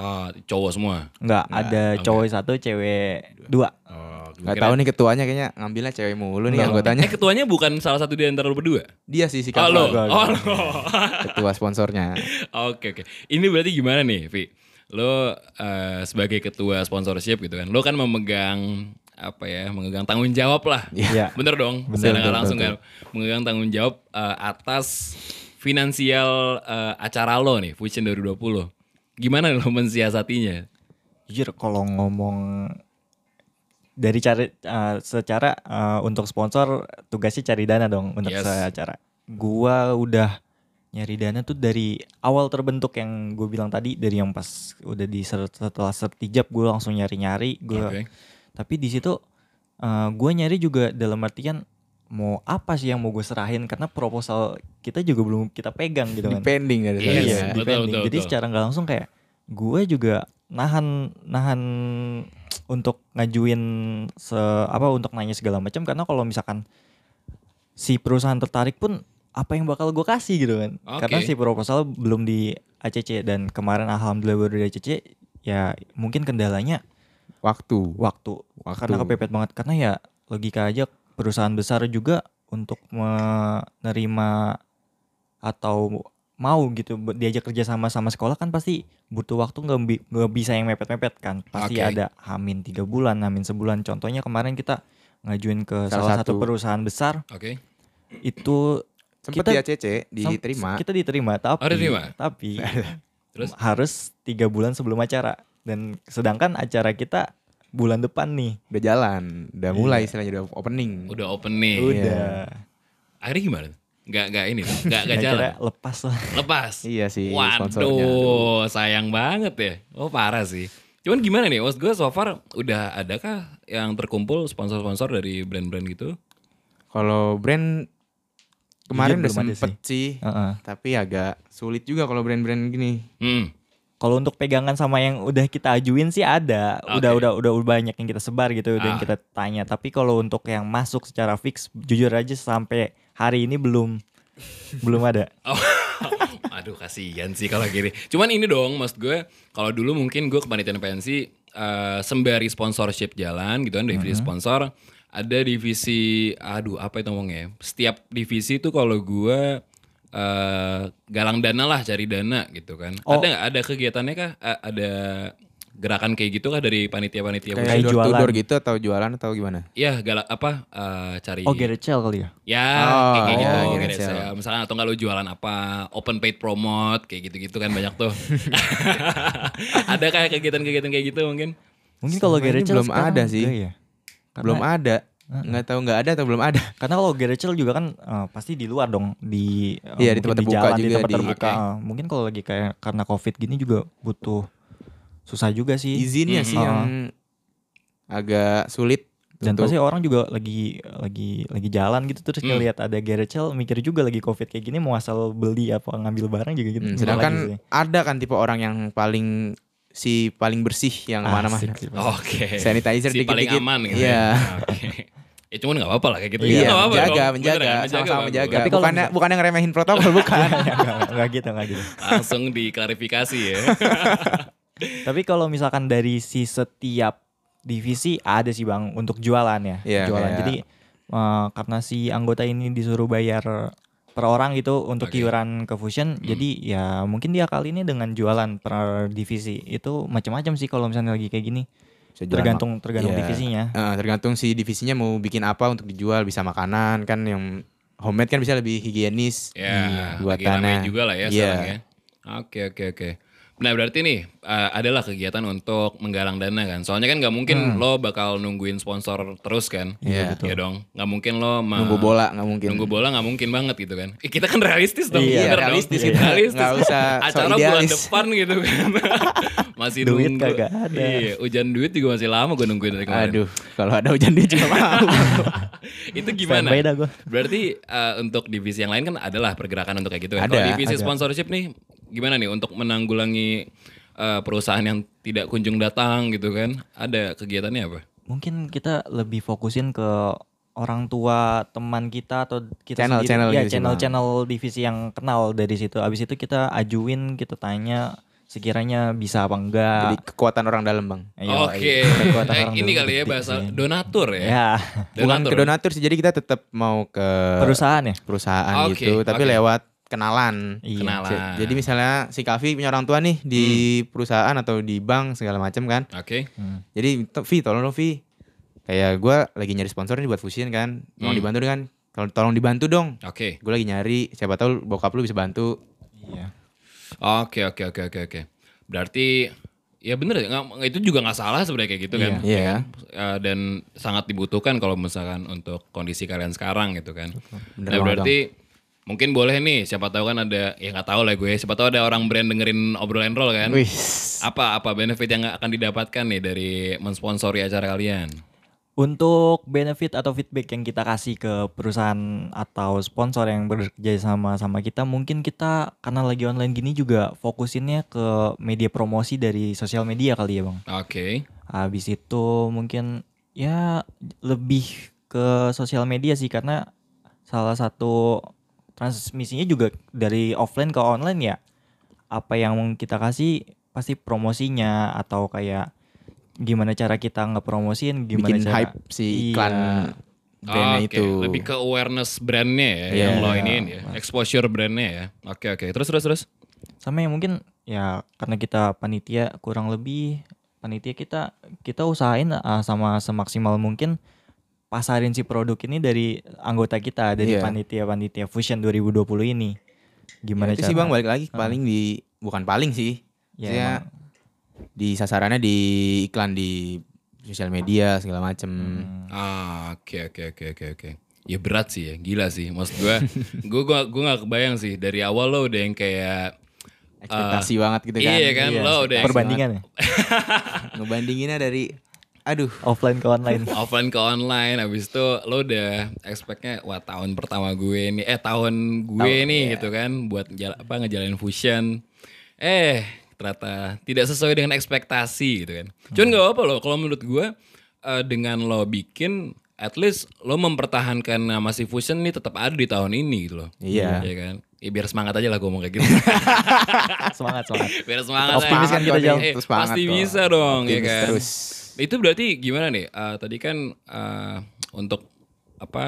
S1: Oh, cowok semua.
S2: Enggak, ada cowok satu, cewek dua.
S1: Oh,
S3: Gak tahu nih ketuanya kayaknya ngambilnya cewek mulu nih anggotanya.
S1: Eh, ketuanya bukan salah satu di antara lu berdua?
S3: Dia sih si
S1: Oh,
S3: Kakak.
S1: lo.
S2: enggak,
S1: Oh, lo.
S3: ketua sponsornya.
S1: Oke, oke. Ini berarti gimana nih, Vi? Lo eh, sebagai ketua sponsorship gitu kan, lo kan memegang apa ya, memegang tanggung jawab lah.
S2: Iya.
S1: Bener dong,
S2: Betul,
S1: secara nggak
S2: betul,
S1: langsung kan memegang tanggung jawab eh, atas finansial eh, acara lo nih, Fusion 2020. Gimana lo mensiasatinya?
S2: Jujur kalau ngomong dari cara eh, secara eh, untuk sponsor tugasnya cari dana dong untuk
S1: Yes.
S2: acara. Gua udah nyari dana tuh dari awal terbentuk yang gue bilang tadi dari yang pas udah di ser- setelah sertijab gue langsung nyari-nyari gue
S1: Oke.
S2: tapi di situ gue nyari juga dalam artian mau apa sih yang mau gue serahin karena proposal kita juga belum kita pegang gitu kan
S3: Di pending dari
S1: Yes.
S3: tadi
S2: iya
S3: ya.
S1: betul,
S2: di pending.
S1: betul,
S2: jadi
S1: betul.
S2: secara nggak langsung kayak gue juga nahan nahan untuk ngajuin se apa untuk nanya segala macam karena kalau misalkan si perusahaan tertarik pun apa yang bakal gue kasih gitu kan
S1: Oke.
S2: karena si proposal belum di ACC dan kemarin alhamdulillah baru di ACC ya mungkin kendalanya
S3: Waktu.
S2: waktu.
S3: Waktu.
S2: Karena kepepet banget karena ya logika aja perusahaan besar juga untuk menerima atau mau gitu be- diajak kerja sama sama sekolah kan pasti butuh waktu nggak bi- nggak bisa yang mepet-mepet kan pasti
S1: Oke.
S2: ada hamin tiga bulan hamin sebulan contohnya kemarin kita ngajuin ke
S3: Salah
S2: salah, satu.
S3: satu.
S2: perusahaan besar
S1: Oke.
S2: itu
S3: Sempet
S2: Kita-
S3: di ACC diterima.
S2: kita diterima tapi
S1: Oh, diterima?
S2: tapi
S1: Terus?
S2: harus tiga bulan sebelum acara dan sedangkan acara kita bulan depan nih
S3: Udah jalan, udah mulai
S2: Iya.
S3: istilahnya udah opening.
S1: Udah open
S3: Iya.
S1: nih.
S2: Udah.
S1: Akhirnya gimana? Gak, gak ini, dong, gak, gak
S2: Akhirnya
S1: jalan.
S2: lepas lah.
S1: Lepas.
S3: Iya sih sponsornya.
S1: Waduh, sayang banget ya. Oh parah sih. Cuman gimana nih, maksud gue so far udah adakah yang terkumpul sponsor-sponsor dari brand-brand gitu?
S3: Kalau brand kemarin
S2: Jujur
S3: udah
S2: Iya, belum ada Ah.
S3: sempet sih.
S2: Heeh.
S3: Tapi agak sulit juga kalau brand-brand gini.
S1: Hmm.
S2: Kalau untuk pegangan sama yang udah kita ajuin sih ada, udah
S1: Oke.
S2: udah udah banyak yang kita sebar gitu, udah yang
S1: Ah.
S2: kita tanya. Tapi kalau untuk yang masuk secara fix, jujur aja sampai hari ini belum belum ada.
S1: Oh, aduh kasihan sih kalau gini. Cuman ini dong, maksud gue kalau dulu mungkin gue kepanitiaan pensi eh, sembari sponsorship jalan gitu kan divisi
S2: Mm-hmm.
S1: sponsor ada divisi aduh apa itu ngomongnya ya? setiap divisi itu kalau gue eh, galang dana lah cari dana gitu kan
S2: Oh.
S1: ada nggak ada kegiatannya kah Eh, ada gerakan kayak gitu kah dari panitia-panitia khusus?
S2: Kayak
S3: Kayak door to
S2: jualan.
S3: door gitu atau jualan atau gimana?
S1: ya galak apa eh, cari
S2: Oh, Gerechel kali ya?
S1: Ya,
S3: Oh,
S1: kayak gitu,
S3: iya,
S1: kayak
S3: iya,
S1: gitu.
S3: iya.
S1: Misalnya atau nggak lu jualan apa, open paid promote, kayak gitu-gitu kan banyak tuh. ada kayak kegiatan-kegiatan kayak gitu mungkin?
S2: Mungkin kalau
S3: Selama ini
S2: Gerechel
S3: belum
S2: sekarang
S3: ada sih.
S2: enggak ya? Karena,
S3: belum ada. Nggak tahu nggak ada atau belum ada.
S2: Karena kalau Gerechel juga kan eh, pasti di luar dong, di eh,
S3: Iya, di
S2: mungkin
S3: tempat terbuka
S2: jalan, di
S3: juga,
S2: tempat
S3: di-
S2: terbuka.
S1: Oke.
S2: Eh, mungkin kalau lagi kayak karena Covid gini juga butuh susah juga sih.
S3: Izinnya sih
S2: Mm.
S3: yang agak sulit.
S2: Dan
S3: untuk-
S2: pasti orang juga lagi lagi lagi jalan gitu terus
S1: Hmm.
S2: ngelihat ada Gerechel mikir juga lagi covid kayak gini mau asal beli apa ngambil barang juga gitu.
S3: Hmm,
S2: Malah
S3: sedangkan
S2: gitu sih.
S3: ada kan tipe orang yang paling si paling bersih yang mana mana
S2: Asik sih, Bang.
S1: Oke.
S3: sanitizer
S1: si paling
S3: dikit-dikit.
S1: aman gitu.
S3: Iya.
S1: ya. Oke. Ya cuman gak apa-apa lah kayak gitu.
S3: Iya,
S1: Nggak apa-apa
S3: menjaga,
S1: dong.
S3: menjaga,
S1: Beneran,
S3: sama-sama
S1: Bang.
S3: menjaga.
S2: Tapi kalau
S3: bukannya,
S2: misalnya-
S3: bukannya ngeremehin protokol, bukan.
S2: Nggak, nggak, nggak gitu nggak gitu
S1: Langsung diklarifikasi ya.
S2: tapi kalau misalkan dari si setiap divisi ada sih bang untuk jualan ya
S3: Iya,
S2: jualan
S3: kayak-
S2: jadi eh, karena si anggota ini disuruh bayar per orang gitu untuk
S1: Oke.
S2: iuran ke Fusion
S3: Hmm.
S2: jadi ya mungkin dia kali ini dengan jualan per divisi itu macam-macam sih kalau misalnya lagi kayak gini
S3: Bisa jualan
S2: tergantung tergantung
S3: Iya.
S2: divisinya
S3: Eh, tergantung si divisinya mau bikin apa untuk dijual bisa makanan kan yang homemade kan bisa lebih higienis
S1: Ya,
S3: Iya, buat
S1: lagi ramai
S3: tanah
S1: juga lah ya
S3: Iya.
S1: sekarang ya. Oke, oke, oke. Nah berarti nih eh, adalah kegiatan untuk menggalang dana kan. Soalnya kan nggak mungkin lo bakal nungguin sponsor terus kan.
S3: Hmm. Iya,
S1: Ya dong. Nggak mungkin lo ma-
S3: nunggu bola nggak mungkin
S1: Eh, Nunggu bola nggak mungkin banget gitu kan. Eh, kita kan realistis dong.
S2: Iya,
S1: bener dong.
S3: realistis
S1: Iya.
S3: kita.
S1: Realistis.
S3: Nggak usah so
S1: Acara bulan
S3: idealis.
S1: depan gitu kan. masih
S2: Duit
S1: nunggu.
S2: kagak ada.
S1: Iya, hujan duit juga masih lama gue nungguin dari kemarin.
S3: aduh kalau ada hujan dia juga mau
S1: Itu gimana?
S2: Standby dah gua.
S1: Berarti eh, untuk divisi yang lain kan adalah pergerakan untuk kayak gitu kan.
S3: Ada,
S1: Kalau divisi
S2: ada.
S1: sponsorship nih gimana nih untuk menanggulangi eh, perusahaan yang tidak kunjung datang gitu kan? Ada kegiatannya apa?
S2: mungkin kita lebih fokusin ke orang tua teman kita atau kita sendiri
S3: Channel- channel gitu
S2: ya
S3: divisi
S2: channel channel divisi yang kenal dari situ abis itu kita ajuin kita tanya sekiranya bisa apa enggak
S3: jadi kekuatan orang dalam bang
S2: Ayo,
S1: Oke.
S2: ayo. Kekuatan
S1: Eh,
S2: orang
S1: ini kali
S2: dulu
S1: ya
S2: penting
S1: bahasa
S2: sih.
S1: donatur ya.
S2: ya
S3: bukan
S1: Donatur.
S3: ke donatur sih jadi kita tetap mau ke
S2: perusahaan ya
S3: perusahaan
S1: Ah, Oke,
S3: gitu tapi
S1: oke.
S3: lewat kenalan
S2: Iya.
S1: Kenalan. Hmm.
S3: Se- Jadi misalnya si Kavi punya orang tua nih di perusahaan atau di bank segala macam kan.
S1: Oke.
S3: Jadi to- Vi tolong dong Vi. Kayak gue lagi nyari sponsor nih buat Fusion kan. Tolong
S1: Hmm.
S3: dibantu dong kan. Tol- Tolong dibantu dong.
S1: Oke.
S3: Gue lagi nyari. Siapa tahu bokap lu bisa bantu.
S2: iya
S1: Oke, oke, oke, oke, oke. Berarti ya bener ya, nggak- itu juga nggak salah sebenarnya kayak gitu kan.
S3: Iya.
S1: Ya kan? Eh, dan sangat dibutuhkan kalau misalkan untuk kondisi kalian sekarang gitu kan.
S3: Bener
S1: nah
S3: banget,
S1: berarti mungkin boleh nih, siapa tahu kan ada, ya nggak tahu lah gue, siapa tahu ada orang brand dengerin obrolan roll kan.
S3: Wih.
S1: Apa apa benefit yang akan didapatkan nih dari mensponsori acara kalian?
S2: Untuk benefit atau feedback yang kita kasih ke perusahaan atau sponsor yang bekerja sama sama kita, mungkin kita karena lagi online gini juga fokusinnya ke media promosi dari sosial media kali ya, Bang.
S1: Oke,
S2: Habis itu mungkin ya lebih ke sosial media sih karena salah satu transmisinya juga dari offline ke online ya. Apa yang kita kasih pasti promosinya atau kayak gimana cara kita ngepromosin, gimana
S3: Bikin
S2: cara
S3: hype si iklan
S1: oke.
S3: brandnya itu.
S1: Lebih ke awareness brandnya ya,
S3: Iya.
S1: yang lo iniin ya, exposure brandnya ya. Oke oke, terus terus terus.
S2: sama yang mungkin ya karena kita panitia kurang lebih panitia kita kita usahain ah, sama semaksimal mungkin pasarin si produk ini dari anggota kita dari
S3: Iya.
S2: panitia panitia Fusion 2020 ini gimana
S3: Itu
S2: cara
S3: sih bang balik lagi paling di bukan paling sih.
S2: Ya,
S3: Saya
S2: emang.
S3: di sasarannya di iklan di sosial media segala macem.
S2: Hmm.
S1: Ah, oke oke oke oke oke. Ya berat sih ya, gila sih. Maksud gue, gue gua gua gak kebayang sih dari awal lo udah yang kayak
S3: Ekspektasi
S2: Ah.
S3: banget gitu kan.
S1: iya kan, lo udah
S2: perbandingan ya
S3: Ngebandinginnya dari aduh
S2: offline ke online
S1: offline ke online habis itu lo udah expectnya wah tahun pertama gue nih eh tahun gue nih gitu kan buat ngejala- apa ngejalanin fusion eh ternyata tidak sesuai dengan ekspektasi gitu kan cuman nggak apa-apa loh kalau menurut gue eh, dengan lo bikin at least lo mempertahankan nama si fusion nih tetap ada di tahun ini gitu loh
S3: Iya.
S1: Iya kan Ya, biar semangat aja lah gue ngomong kayak gitu
S2: semangat semangat
S1: biar semangat
S2: Optimis
S1: aja.
S2: kan kita, Jal?
S1: Eh,
S3: Terus semangat
S1: pasti
S3: kok.
S1: bisa dong ya
S3: Optimis
S1: kan
S3: terus.
S1: itu berarti gimana nih Eh, tadi kan eh, untuk apa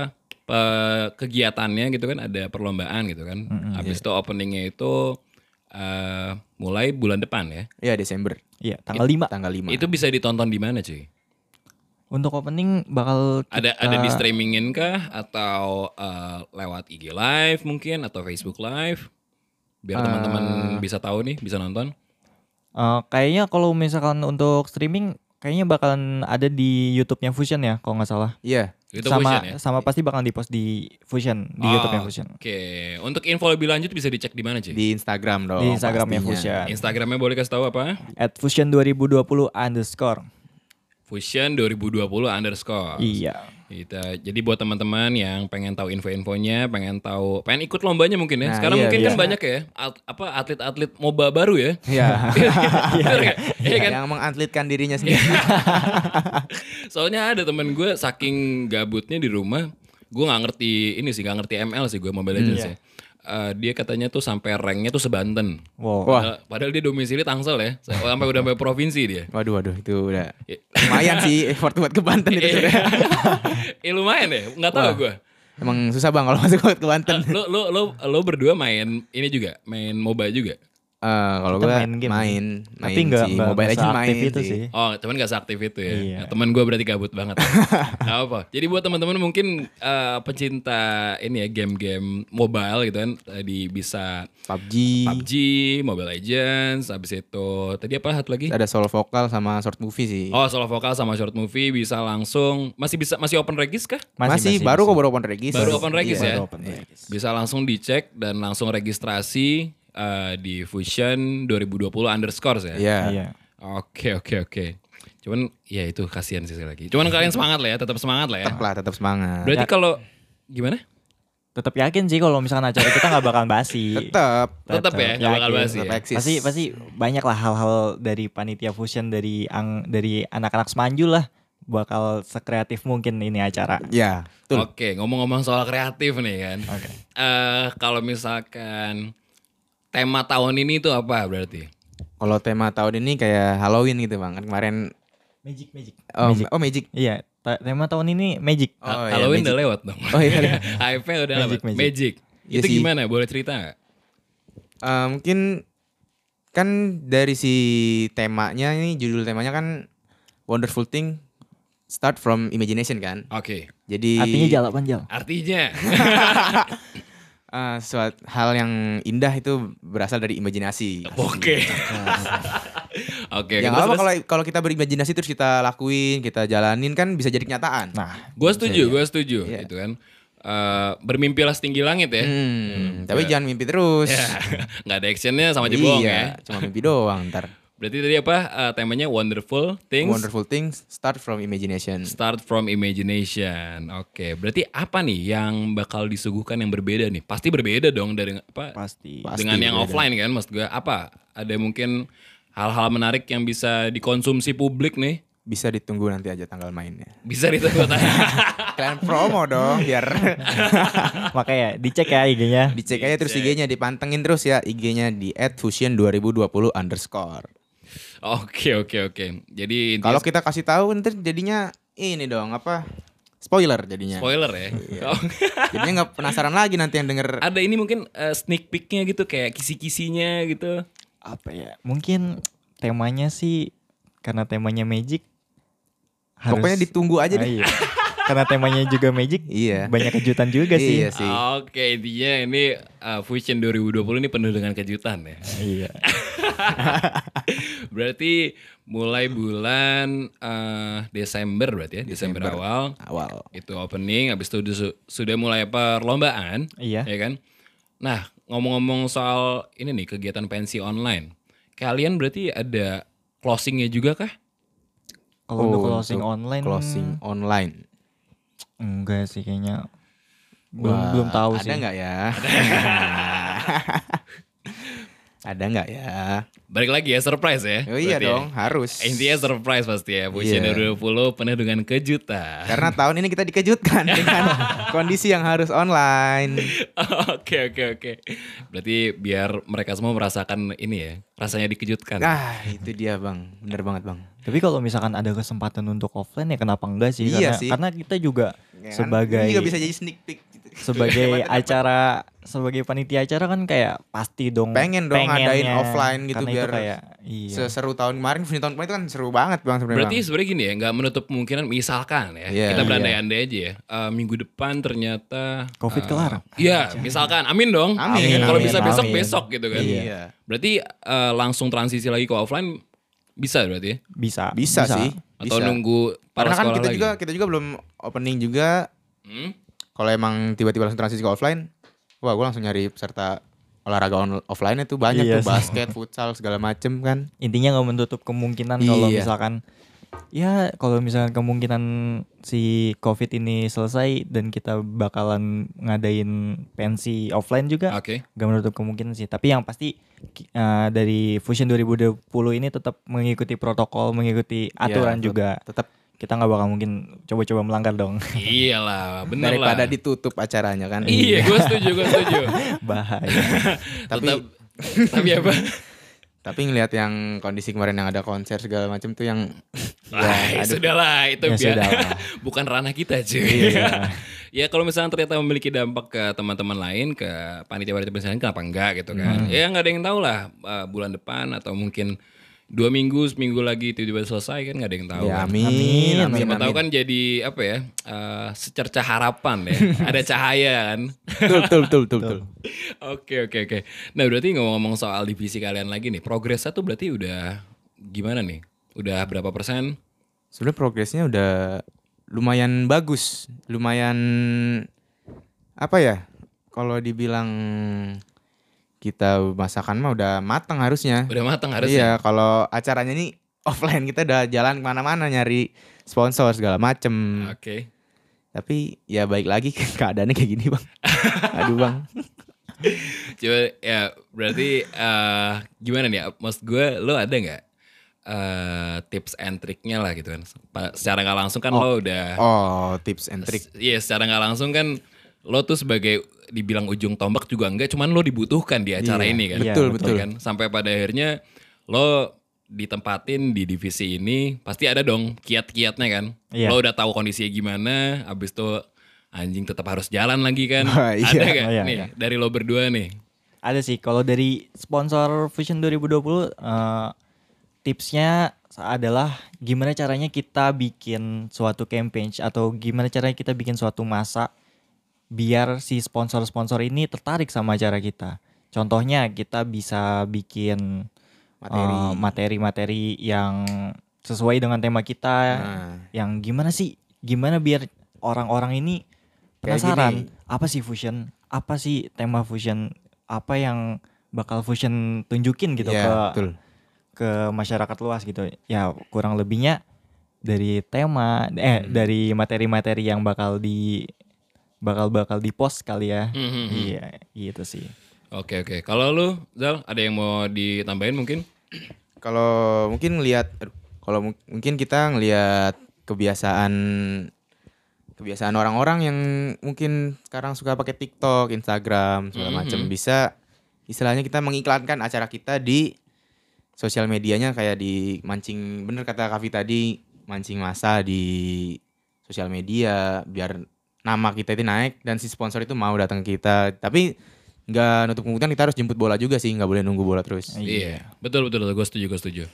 S1: pe- kegiatannya gitu kan ada perlombaan gitu kan habis itu openingnya itu eh, mulai bulan depan ya
S3: Iya Desember
S2: iya tanggal 5
S3: tanggal 5.
S1: itu bisa ditonton di mana cuy
S2: untuk opening bakal
S1: ada ada di streamingin kah atau eh, lewat IG live mungkin atau Facebook live biar teman-teman bisa tahu nih bisa nonton
S2: Eh, kayaknya kalau misalkan untuk streaming kayaknya bakalan ada di YouTube-nya Fusion ya kalau nggak salah
S3: Iya.
S1: itu
S2: sama
S1: Fusion ya
S2: sama pasti bakal dipost di Fusion di
S3: Oh.
S1: Ah,
S2: YouTube-nya Fusion
S1: Oke, untuk info lebih lanjut bisa dicek di mana cuy?
S3: Di Instagram
S2: Iya.
S3: dong.
S2: di ya, Instagramnya
S3: Oh, pastinya. Iya.
S2: Fusion
S1: Instagramnya boleh kasih tahu apa?
S2: at Fusion 2020 underscore
S1: Fusion 2020 underscore.
S2: Iya.
S1: Gitu. Jadi buat teman-teman yang pengen tahu info-infonya, pengen tahu, pengen ikut lombanya mungkin ya.
S3: Nah,
S1: Sekarang
S3: iya,
S1: mungkin kan
S3: iya.
S1: banyak ya, at- apa atlet-atlet MOBA baru ya.
S3: Iya.
S1: Bener nggak? Iya kan?
S3: Yang mengatlitkan
S2: Iya.
S3: dirinya sendiri.
S1: Soalnya ada temen gue saking gabutnya di rumah, gue nggak ngerti ini sih, nggak ngerti ML sih gue
S3: Hmm.
S1: Mobile
S3: Iya.
S1: Legends ya. Eh, dia katanya tuh sampai ranknya tuh sebanten.
S2: Wow.
S3: Wah,
S1: Padahal, padahal dia domisili Tangsel ya, sampai udah sampai provinsi dia.
S3: waduh waduh itu udah
S1: Iya.
S3: lumayan sih effort buat ke Banten itu.
S1: Iya.
S3: sudah.
S1: eh lumayan ya, nggak tahu
S3: Wah.
S1: gue.
S3: Emang susah bang kalau masuk buat ke Banten.
S1: Lo lo lo lo berdua main ini juga, main MOBA juga.
S3: Eh, kalau
S2: Kita
S3: gue
S2: Ah. main
S3: main,
S2: game.
S3: main,
S2: Tapi nggak
S3: sih.
S2: nggak
S3: Mobile Legends
S2: seaktif
S3: main
S2: itu sih.
S1: Oh, temen gak seaktif itu ya.
S2: Iya.
S1: Nah, temen gue berarti gabut banget. Gak apa. Jadi buat teman-teman mungkin eh, pecinta ini ya game-game mobile gitu kan tadi bisa
S3: PUBG,
S1: PUBG, Mobile Legends, habis itu tadi apa satu lagi?
S3: ada solo vokal sama short movie sih.
S1: Oh, solo vokal sama short movie bisa langsung masih bisa masih open regis kah?
S3: masih, baru kok baru open regis.
S1: Baru open regis
S3: Iya.
S1: ya.
S2: Baru open regis.
S1: Bisa langsung dicek dan langsung registrasi eh, di Fusion 2020 underscore ya.
S3: Iya.
S2: Iya.
S1: Oke, oke, oke. Cuman ya itu kasihan sih sekali lagi. Cuman kalian semangat lah ya, tetap semangat lah ya.
S3: Tetap lah, tetap semangat.
S1: Berarti kalau gimana?
S2: Tetap yakin sih kalau misalkan acara kita nggak bakal basi.
S3: Tetap.
S1: Tetap ya, nggak bakal
S2: yakin.
S1: basi ya.
S3: Tetap eksis.
S2: Pasti pasti banyak lah hal-hal dari panitia fusion dari ang dari anak-anak Semanjul lah bakal sekreatif mungkin ini acara.
S3: Ya, betul.
S1: Oke, ngomong-ngomong soal kreatif nih kan.
S2: Oke.
S1: Eh, kalau misalkan tema tahun ini itu apa berarti?
S3: Kalau tema tahun ini kayak Halloween gitu bang. Kan Kemarin
S2: Magic magic.
S3: oh
S2: Magic.
S3: oh magic.
S2: Iya, ta- tema tahun ini magic.
S3: Oh, iya,
S1: Halloween
S3: magic.
S1: udah lewat dong.
S3: Oh, iya, iya.
S1: AFP udah
S2: Magic,
S1: lewat. Magic.
S2: magic.
S3: Iya
S1: itu
S3: sih.
S1: gimana? Boleh cerita nggak?
S3: Eh, mungkin kan dari si temanya ini judul temanya kan wonderful thing start from imagination kan.
S1: Oke.
S3: Jadi
S2: Artinya jalapan jal.
S1: Artinya.
S3: eh, suatu hal yang indah itu berasal dari imajinasi.
S1: Oke. Oke.
S3: yang apa Ya, kalau kalau kita berimajinasi terus kita lakuin, kita jalanin kan bisa jadi kenyataan.
S2: Nah,
S1: Gue setuju, gue setuju.
S3: Iya.
S1: Gitu kan. Eh, bermimpilah setinggi langit ya.
S3: Hmm, tapi jangan mimpi terus.
S1: nggak ada actionnya sama aja Iya, bohong ya.
S3: Iya, cuma mimpi doang ntar.
S1: Berarti tadi apa eh, temanya wonderful things
S3: Wonderful things start from imagination.
S1: start from imagination. Oke, berarti apa nih yang bakal disuguhkan yang berbeda nih? Pasti berbeda dong dari apa
S2: pasti.
S3: Pasti
S1: dengan yang
S3: berbeda.
S1: offline kan maksud gue. Apa ada mungkin hal-hal menarik yang bisa dikonsumsi publik nih?
S3: Bisa ditunggu nanti aja tanggal mainnya.
S1: Bisa ditunggu
S3: Kalian promo dong biar
S2: Makanya dicek ya IG-nya.
S3: dicek aja terus IG-nya dipantengin terus ya IG-nya di @fusion2020 underscore.
S1: Oke, oke, oke. Jadi intinya
S3: Kalau kita kasih tahu ntar jadinya ini dong apa spoiler jadinya.
S1: spoiler ya.
S3: Iya. Jadinya nggak penasaran lagi nanti yang denger.
S1: ada ini mungkin eh, sneak peeknya gitu kayak kisi-kisinya gitu.
S2: apa ya mungkin temanya sih karena temanya magic harus-
S3: Pokoknya ditunggu aja
S2: Ah,
S3: deh.
S2: iya. karena temanya juga magic
S3: Iya.
S2: banyak kejutan juga sih
S3: Iya sih.
S1: Oh. Oke, intinya ini eh, Fusion 2020 ini penuh dengan kejutan ya.
S2: iya
S1: Berarti mulai bulan eh, Desember berarti ya, Desember, awal
S3: Awal.
S1: itu opening habis itu disu- sudah mulai perlombaan.
S2: Iya.
S1: Ya kan? Nah, ngomong-ngomong soal ini nih kegiatan pensi online. Kalian berarti ada closingnya juga kah?
S2: kalau untuk
S3: Oh,
S2: closing
S3: untuk
S2: online
S3: Closing online.
S2: enggak sih kayaknya belum belum tahu
S3: ada
S2: sih
S3: nggak ya? ada nggak ya?
S1: Balik lagi ya surprise ya.
S3: Oh iya
S1: berarti ya.
S3: dong, harus.
S1: Intinya surprise pasti ya. Fusion
S3: Iya.
S1: 2020 penuh dengan kejutan.
S3: Karena tahun ini kita dikejutkan dengan kondisi yang harus online.
S1: Oke oke oke. Berarti biar mereka semua merasakan ini ya, rasanya dikejutkan.
S3: Ah, itu dia bang, bener banget bang.
S2: tapi kalau misalkan ada kesempatan untuk offline ya kenapa enggak sih
S3: Iya
S2: karena
S3: sih.
S2: karena kita juga
S3: Ya kan?
S2: sebagai
S3: Ini juga bisa jadi sneak peek. Gitu.
S2: sebagai acara sebagai panitia acara kan kayak pasti dong
S3: Pengen dong ngadain
S2: pengennya.
S3: offline gitu
S2: Karena itu
S3: biar
S2: kayak iya
S3: Seseru tahun kemarin, punya tahun kemarin itu kan seru banget bang sebenarnya.
S1: Berarti
S3: Bang.
S1: sebenarnya gini ya, nggak menutup kemungkinan misalkan ya,
S3: Iya.
S1: kita berandai-andai aja ya. eh, minggu depan ternyata
S2: Covid
S3: Ah.
S1: eh,
S2: kelar.
S1: Iya, misalkan. Amin dong.
S3: Amin,
S1: Ya kan? Kalau
S2: amin,
S1: bisa
S2: amin.
S1: besok besok gitu kan.
S3: Iya.
S1: Berarti eh, langsung transisi lagi ke offline bisa berarti ya?
S2: bisa
S3: Bisa, sih.
S1: Atau
S3: bisa.
S1: nunggu para
S3: Karena kan
S1: sekolah
S3: kita
S1: lagi?
S3: juga kita juga belum opening juga
S1: Hmm?
S3: kalau emang tiba-tiba langsung transisi ke offline, wah gue langsung nyari peserta olahraga on- offline itu banyak
S2: Iya
S3: tuh
S2: sih.
S3: basket, futsal segala macem kan.
S2: intinya nggak menutup kemungkinan kalau
S3: Iya.
S2: misalkan Ya kalau misalkan kemungkinan si COVID ini selesai dan kita bakalan ngadain pensi offline juga,
S1: Oke.
S2: gak menutup kemungkinan sih. Tapi yang pasti ki- eh, dari Fusion 2020 ini tetap mengikuti protokol, mengikuti aturan
S3: tet-
S2: juga.
S3: Iya, tetap
S2: Kita nggak bakal mungkin coba-coba melanggar dong.
S1: Iyalah, bener lah.
S3: daripada ditutup acaranya kan.
S1: Iya, gue setuju, gue setuju.
S2: Bahaya.
S3: Tapi
S1: Tetap- tapi apa?
S3: tapi ngelihat yang kondisi kemarin yang ada konser segala macam tuh yang
S1: Wah, ya iya
S3: aduh.
S1: sudahlah itu
S2: Ya,
S1: biar
S2: sudahlah.
S1: bukan ranah kita cuy.
S3: Iya.
S1: ya kalau misalnya ternyata memiliki dampak ke teman-teman lain, ke panitia panitia panitia lain, kenapa enggak gitu kan?
S3: Hmm.
S1: Ya nggak ada yang tahu lah eh, bulan depan atau mungkin dua minggu, seminggu lagi tiba-tiba selesai kan nggak ada yang tahu.
S3: ya,
S1: kan?
S3: amin,
S2: Amin,
S3: amin,
S1: Siapa tahu
S3: amin.
S1: kan jadi apa ya? eh, secerca harapan ya, ada cahaya kan.
S3: Betul, betul, betul, betul, betul.
S1: Oke oke oke. Nah berarti ngomong-ngomong soal divisi kalian lagi nih, progresnya tuh berarti udah gimana nih? Udah berapa persen?
S3: Sebenarnya progresnya udah lumayan bagus, lumayan apa ya? Kalau dibilang kita masakan mah udah matang harusnya.
S1: Udah matang
S3: iya,
S1: harusnya.
S3: kalau acaranya nih offline kita udah jalan kemana-mana nyari sponsor segala macem.
S1: Oke.
S3: Tapi ya baik lagi keadaannya kayak gini bang. Aduh bang.
S1: Coba ya berarti eh, gimana nih? Maksud gue lo ada nggak eh, tips and triknya lah gitu kan? Pa- Secara nggak langsung kan lo
S2: Nah.
S1: udah,
S3: Oh tips and trick.
S1: iya secara nggak langsung kan lo tuh sebagai dibilang ujung tombak juga enggak, cuman lo dibutuhkan di acara
S3: Iya,
S1: ini kan?
S3: Betul
S1: Iya
S3: betul.
S1: kan? Sampai pada akhirnya lo ditempatin di divisi ini pasti ada dong kiat-kiatnya kan.
S2: Iya.
S1: Lo udah tahu kondisinya gimana, abis itu anjing tetap harus jalan lagi kan.
S3: Wah, iya,
S1: ada gak
S2: iya,
S1: nih dari lo berdua nih?
S2: Ada sih kalau dari sponsor Fusion 2020 eh, tipsnya adalah gimana caranya kita bikin suatu campaign atau gimana caranya kita bikin suatu masa biar si sponsor-sponsor ini tertarik sama acara kita. Contohnya kita bisa bikin
S3: Materi.
S2: eh, materi-materi yang sesuai dengan tema kita.
S3: Nah.
S2: Yang gimana sih? Gimana biar orang-orang ini
S3: Kayak
S2: penasaran apa sih fusion? Apa sih tema fusion? Apa yang bakal fusion tunjukin gitu
S3: Iya,
S2: ke
S3: betul.
S2: ke masyarakat luas gitu. Ya kurang lebihnya dari tema eh
S3: Hmm.
S2: dari materi-materi yang bakal di bakal bakal di post kali ya.
S1: Mhm.
S3: Hmm.
S2: Iya, gitu sih.
S1: Oke oke. Kalau lu Zal ada yang mau ditambahin mungkin?
S3: Kalau mungkin ngelihat aduh, kalau mung- mungkin kita ngelihat kebiasaan kebiasaan orang-orang yang mungkin sekarang suka pakai TikTok, Instagram, segala macam bisa istilahnya kita mengiklankan acara kita di sosial medianya kayak di mancing bener kata Kavi tadi mancing massa di sosial media biar nama kita itu naik dan si sponsor itu mau datang ke kita tapi nggak nutup kemungkinan kita harus jemput bola juga sih nggak boleh nunggu bola terus
S2: Iya.
S1: Betul betul. Gue setuju gue setuju.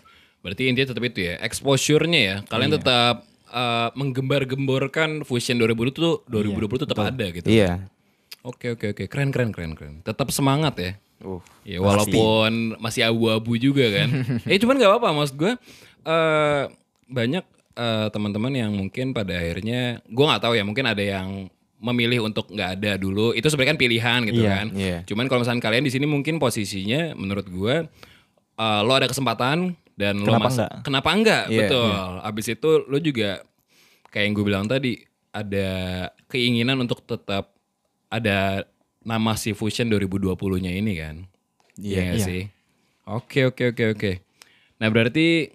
S1: Berarti intinya tetap itu ya. Exposure-nya ya. Kalian tetap eh, menggembar-gemborkan Fusion 2020 tuh 2020 tetap ada gitu.
S3: iya
S1: Oke oke oke. Keren keren keren keren. Tetap semangat ya.
S3: Uh,
S1: Ya walaupun masih abu-abu juga kan. eh cuman nggak apa-apa maksud gue eh, banyak eh, teman-teman yang mungkin pada akhirnya gue nggak tahu ya mungkin ada yang memilih untuk nggak ada dulu itu sebenarnya kan pilihan gitu
S2: Iya,
S1: kan.
S3: iya.
S1: Cuman kalau misalnya kalian di sini mungkin posisinya menurut gue eh, lo ada kesempatan dan lo
S2: Kenapa
S1: masuk-
S2: enggak?
S1: Kenapa enggak?
S3: Iya,
S1: Betul. Abis itu lo juga kayak yang gue bilang tadi ada keinginan untuk tetap ada nama si Fusion 2020-nya ini kan. Iya nggak sih? Oke, oke, oke, oke. Nah, berarti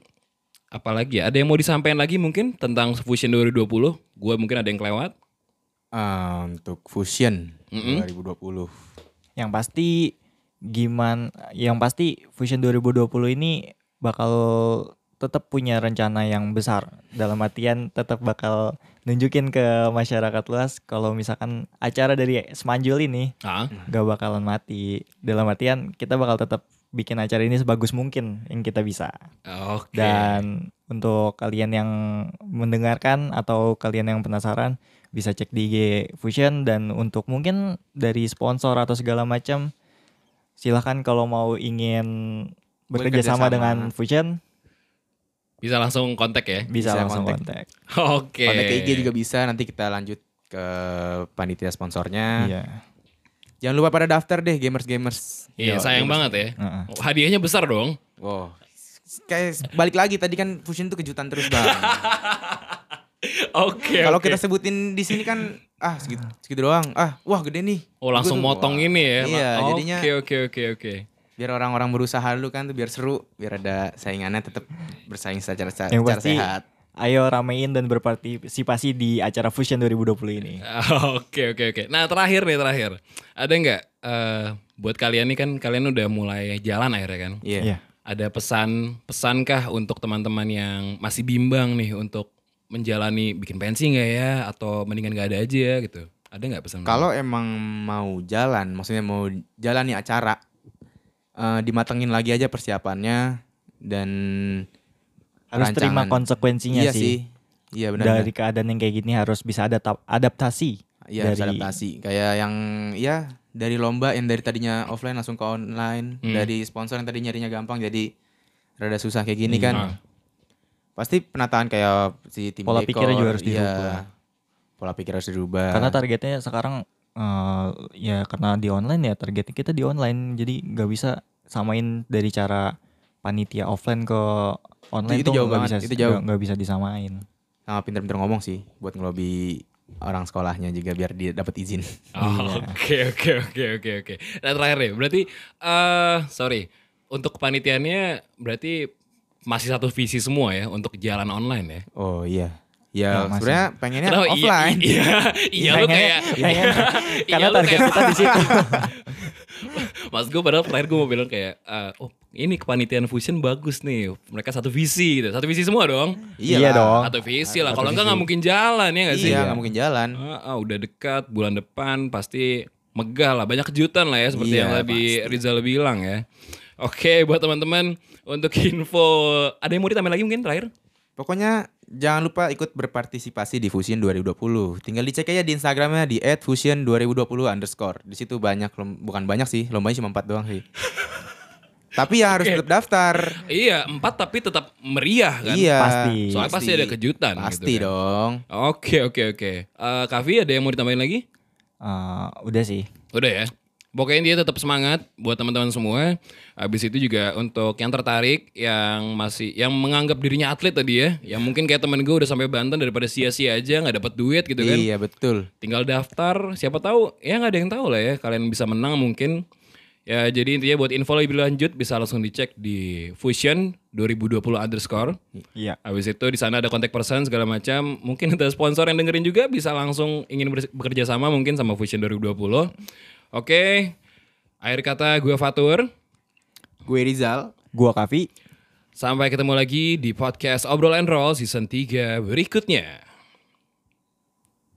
S1: apalagi ya? Ada yang mau disampaikan lagi mungkin tentang Fusion 2020? Gue mungkin ada yang kelewat.
S3: Ah, untuk Fusion 2020.
S2: Yang pasti gimana yang pasti Fusion 2020 ini bakal tetap punya rencana yang besar dalam artian tetap bakal nunjukin ke masyarakat luas kalau misalkan acara dari Semanjul ini
S1: Ah,
S2: gak bakalan mati dalam artian kita bakal tetap bikin acara ini sebagus mungkin yang kita bisa
S1: oke.
S2: dan untuk kalian yang mendengarkan atau kalian yang penasaran bisa cek di IG Fusion dan untuk mungkin dari sponsor atau segala macam silahkan kalau mau ingin bekerja sama
S3: Bekerjasama.
S2: dengan Fusion
S1: Bisa langsung kontak ya?
S2: bisa,
S3: Bisa
S2: langsung kontak.
S3: kontak.
S1: Oke.
S3: Kontak ke IG
S1: iya.
S3: juga bisa, nanti kita lanjut ke panitia sponsornya.
S2: Iya.
S3: Jangan lupa pada daftar deh gamers-gamers.
S1: Iya, sayang banget ya.
S2: Heeh.
S1: Hadiahnya besar dong.
S3: Wow, kayak balik lagi tadi kan fusion tuh kejutan terus bang.
S1: Oke. Iya,
S3: Kalau
S1: oke.
S3: kita sebutin di sini kan ah segitu, segitu doang. Ah, wah gede nih.
S1: Oh langsung
S3: Gua tuh,
S1: motong
S3: wah.
S1: ini ya.
S3: Iya,
S1: Oke,
S3: jadinya
S1: oke oke oke.
S3: biar orang-orang berusaha dulu kan tuh biar seru, biar ada saingannya tetap bersaing secara, secara,
S2: Yang pasti
S3: sehat.
S2: ayo ramein dan berpartisipasi di acara Fusion 2020 ini.
S1: Oke oke oke. Nah terakhir nih terakhir, ada nggak eh, buat kalian nih kan kalian udah mulai jalan akhirnya kan?
S3: Iya.
S2: Iya.
S1: Ada pesan pesankah untuk teman-teman yang masih bimbang nih untuk menjalani bikin pensi nggak ya atau mendingan nggak ada aja gitu? Ada nggak
S2: Hmm.
S1: pesan?
S3: Kalau emang mau jalan, maksudnya mau jalani acara, eh, dimatengin lagi aja persiapannya dan
S2: Harus terima
S3: rancangan.
S2: konsekuensinya
S3: iya
S2: sih.
S3: sih. Iya benar.
S2: Dari keadaan yang kayak gini harus bisa ada adaptasi.
S3: Iya harus
S2: dari-
S3: adaptasi. Kayak yang ya dari lomba yang dari tadinya offline langsung ke online,
S1: Hmm.
S3: dari sponsor yang tadi nyarinya gampang jadi rada susah kayak gini
S2: Iya.
S3: kan. Pasti penataan kayak si tim
S2: Pola
S3: dekor,
S2: pikirnya juga harus
S3: iya.
S2: dirubah.
S3: Pola pikir harus dirubah.
S2: Karena targetnya sekarang eh, ya karena di online ya targetnya kita di online jadi nggak bisa samain dari cara panitia offline ke online
S3: Itu- itu
S2: tuh
S3: jauh
S2: nggak
S3: banget,
S2: bisa
S3: itu jauh.
S2: nggak- nggak bisa disamain.
S3: sama pinter-pinter ngomong sih buat ngelobi orang sekolahnya juga biar dia dapat izin.
S1: Oh, Oke oke oke oke oke. Nah terakhir nih, berarti eh sorry untuk kepanitiaannya berarti masih satu visi semua ya untuk jalan online ya?
S3: Oh iya.
S2: Ya,
S3: Ya,
S2: masih.
S3: sebenarnya pengennya
S1: Kenapa? Iya,
S3: offline.
S1: Iya, iya, lu
S2: Pengennya-
S1: kayak
S2: pengennya-
S1: iya,
S2: karena
S1: lu
S2: target
S1: kayak-
S2: kita di situ.
S1: Mas gue padahal terakhir gue mau bilang kayak eh, oh ini kepanitiaan fusion bagus nih. Mereka satu visi gitu. Satu visi semua dong.
S2: Iya dong.
S1: Satu visi lah.
S2: Satu
S1: Kalau enggak
S2: visi.
S1: nggak mungkin jalan ya nggak sih?
S3: Iya, nggak mungkin jalan.
S1: Ah, ah, udah dekat bulan depan pasti megah lah banyak kejutan lah ya seperti
S3: Iya,
S1: yang tadi Rizal bilang ya. Oke buat teman-teman untuk info ada yang mau ditambah lagi mungkin terakhir?
S3: Pokoknya jangan lupa ikut berpartisipasi di Fusion 2020. Tinggal dicek aja di Instagramnya di @fusion2020 underscore. Di situ banyak, lom- bukan banyak sih, lombanya cuma 4 doang sih. Tapi ya harus tetap daftar.
S1: Iya empat tapi tetap meriah kan?
S3: Iya.
S2: Pasti.
S1: Soalnya pasti ada kejutan gitu
S3: Pasti
S1: kan.
S3: dong.
S1: Oke oke oke. Eh Kavi ada yang mau ditambahin lagi?
S2: Eh, udah sih.
S1: Udah ya. Pokoknya dia tetap semangat buat teman-teman semua. Habis itu juga untuk yang tertarik, yang masih, yang menganggap dirinya atlet tadi ya, yang mungkin kayak temen gue udah sampai Banten daripada sia-sia aja nggak dapat duit gitu kan.
S3: Iya, betul.
S1: Tinggal daftar, siapa tahu ya nggak ada yang tahu lah ya. Kalian bisa menang mungkin. Ya jadi intinya buat info lebih lanjut bisa langsung dicek di Fusion 2020 underscore.
S2: Iya.
S1: Habis itu di sana ada kontak person segala macam. Mungkin ada sponsor yang dengerin juga bisa langsung ingin ber- bekerja sama mungkin sama Fusion 2020. Oke. Akhir kata gue Fatur.
S3: Gue Rizal.
S2: Gua Kavi.
S1: Sampai ketemu lagi di podcast Obrol and Roll season 3 berikutnya.